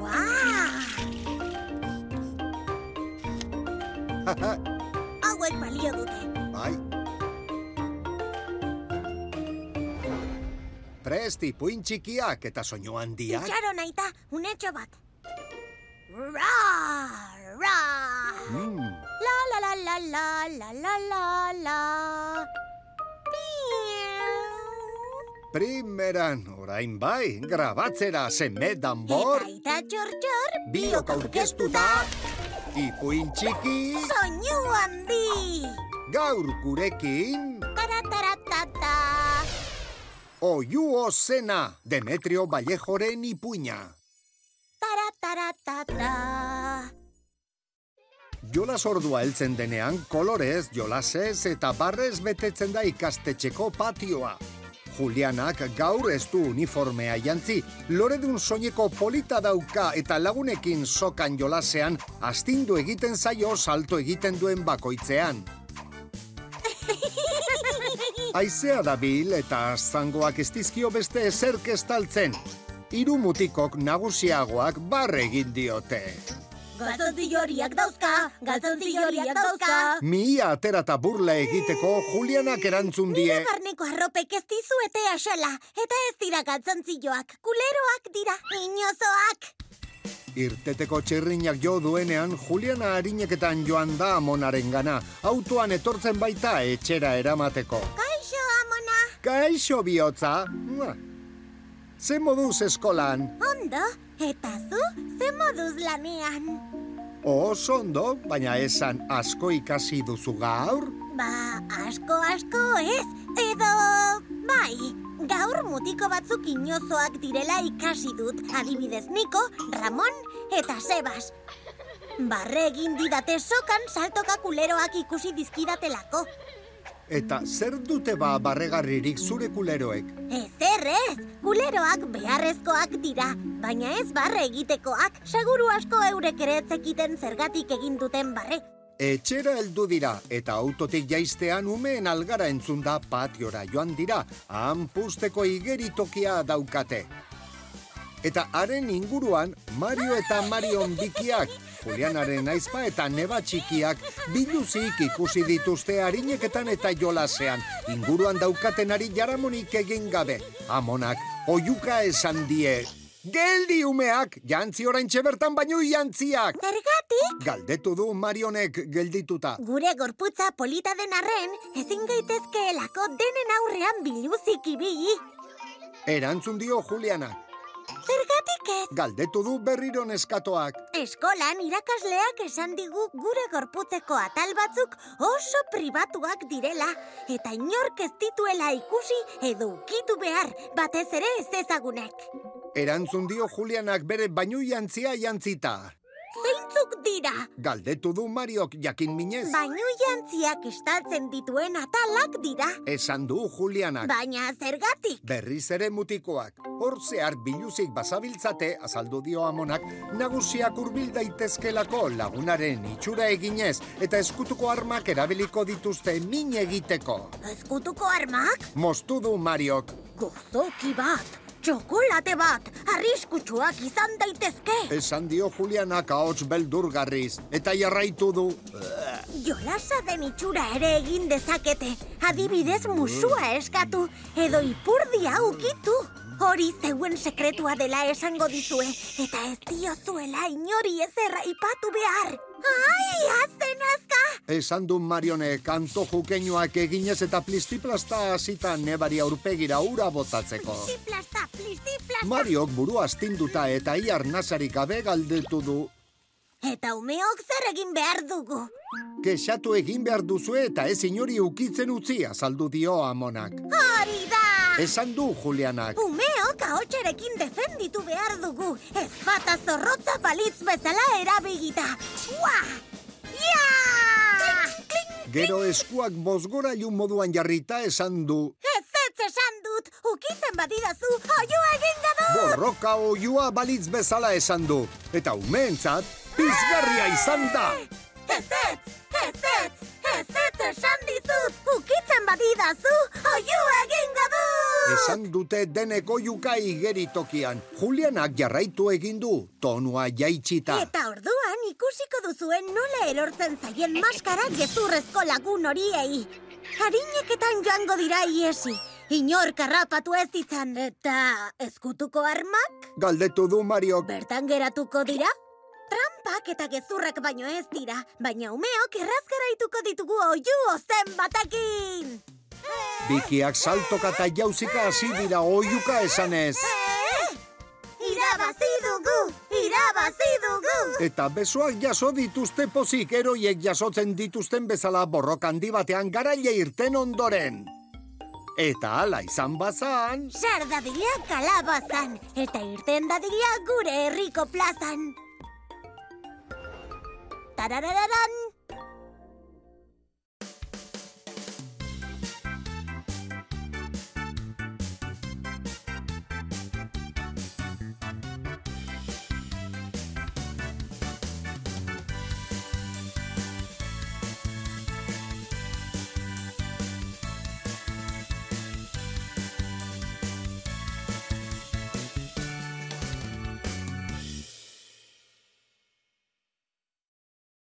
와. Agua el palillo dute. Bai. Prest ipuin txikiak eta soinu handiak. Itxaro nahi da, unetxo bat. Ra, ra. Mm, La, la, la, la, la, la, la, la, la. Piau. primeran, orain bai, grabatzera seme danbor, Eta ita txor-txor, biok aurkeztu da, ipuin txiki, soinu handi. gaur gurekin, Tarataratata. oiu zena, Demetrio Vallejoren ipuina. Tarataratata. Jolas ordua heltzen denean kolorez, jolasez eta barrez betetzen da ikastetxeko patioa. Julianak gaur ez du uniformea jantzi, loredun soineko polita dauka eta lagunekin sokan jolasean astindu egiten zaio salto egiten duen bakoitzean. Aizea dabil eta zangoak ez dizkio beste ezerk estaltzen. Hiru mutikok nagusiagoak barre egin diote. Galtzontzillo horiak dauzka, galtzontzillo horiak dauzka. Mihia atera eta burla egiteko Julianak erantzun die. Nire barneko arropek ez dizuete asala, eta ez dira galtzontzilloak, kuleroak dira, inozoak. Irteteko txirrinak jo duenean Juliana harineketan joan da amonarengana. Autoan etortzen baita etxera eramateko. Kaixo, amona, Kaixo bihotza! Mua. Ze moduz eskolan? ondo, eta zu, ze moduz lanean. Oso ondo, baina esan asko ikasi duzu gaur? Ba, asko asko ez, edo... Bai, gaur mutiko batzuk inozoak direla ikasi dut, adibidez Niko, Ramon eta Sebas. Barre egin didate sokan saltoka kuleroak ikusi dizkidatelako. Eta zer dute ba barregarririk zure kuleroek? Ez errez, kuleroak beharrezkoak dira, baina ez barre egitekoak, seguru asko eurek ere ez zekiten zergatik egin duten barre. Etxera heldu dira eta autotik jaistean umeen algara entzunda patiora joan dira, han pusteko igeritokia daukate. Eta haren inguruan Mario eta Marion bikiak, Julianaren aizpa eta neba txikiak biluzik ikusi dituzte harineketan eta jolasean, inguruan daukatenari jaramonik egin gabe. Amonak, oiuka esan die, Geldi umeak, jantzi orain bertan baino jantziak! Zergatik? Galdetu du Marionek geldituta. Gure gorputza polita den arren, ezin gaitezkeelako denen aurrean biluzik ibili. Erantzun dio Julianak. Zergatik ez? Galdetu du berriro neskatoak. Eskolan irakasleak esan digu gure gorputzeko atal batzuk oso pribatuak direla eta inork ez dituela ikusi edo ukitu behar, batez ere ez ezagunek. Erantzun dio Julianak bere bainu jantzia jantzita. Zeintzuk dira? Galdetu du Mariok jakin minez. Bainu jantziak estaltzen dituen atalak dira, Esan du Julianak. baina zergatik? Berriz ere mutikoak. Hor zehar biluzik bazabiltzate, azaldu dio amonak, nagusiak hurbil daitezkelako lagunaren itxura eginez eta eskutuko armak erabiliko dituzte min egiteko. Ezkutuko armak? Moztu du Mariok. Gozoki bat, txokolate bat, arriskutsuak izan daitezke. Esan dio Julianak ahots beldurgarriz, eta jarraitu du. Jolasa den itxura ere egin dezakete. Adibidez musua eskatu, edo ipurdia ukitu. Hori zeuen sekretua dela esango dizue, eta ez diozuela inori ezerra ipatu behar. Ai, azten azka! Esan du Marione kanto jukeinoak eginez eta plistiplasta hasita nebari aurpegira ura botatzeko. Plistiplasta, plistiplasta! Mariok buru astinduta eta iar nasarik gabe galdetu du. Eta umeok zer egin behar dugu. Kexatu egin behar duzue eta ez inori ukitzen utzi azaldu dio amonak. Hori da! Esan du Julianak. Umeok ahotsarekin defenditu behar dugu. Ez bata zorrotza balitz bezala erabilita. Ua! Ja! Klik, klik! Gero eskuak bozgora moduan jarrita esan du. Ez ez esan dut, ukitzen badidazu, oioa egin gadu! Borroka oiua balitz bezala esan du. Eta umeentzat, pizgarria izan da! Ez ez, ez ez, ez ez esan dizut, ukitzen badidazu, oioa egin gadu! Esan dute deneko juka igeritokian. Julianak jarraitu egin du, tonua jaitsita. Eta orduan ikusiko duzuen nola elortzen zaien maskara gezurrezko lagun horiei. Harineketan joango dira iesi, inork harrapatu ez ditzan eta ezkutuko armak Galdetu du Mariok. bertan geratuko dira. Trampak eta gezurrak baino ez dira, baina umeok erraz garaituko ditugu oiu ozen batekin! Bikiak saltoka eta jauzika hasi dira oiuka esanez. Eh? Irabazi dugu! Irabazi dugu! Eta besoak jaso dituzte pozik eroiek jasotzen dituzten bezala borrok handi batean garaile irten ondoren. Eta hala izan bazan, Sar dadila kalabazan, eta irten dadila gure herriko plazan. Tarararan,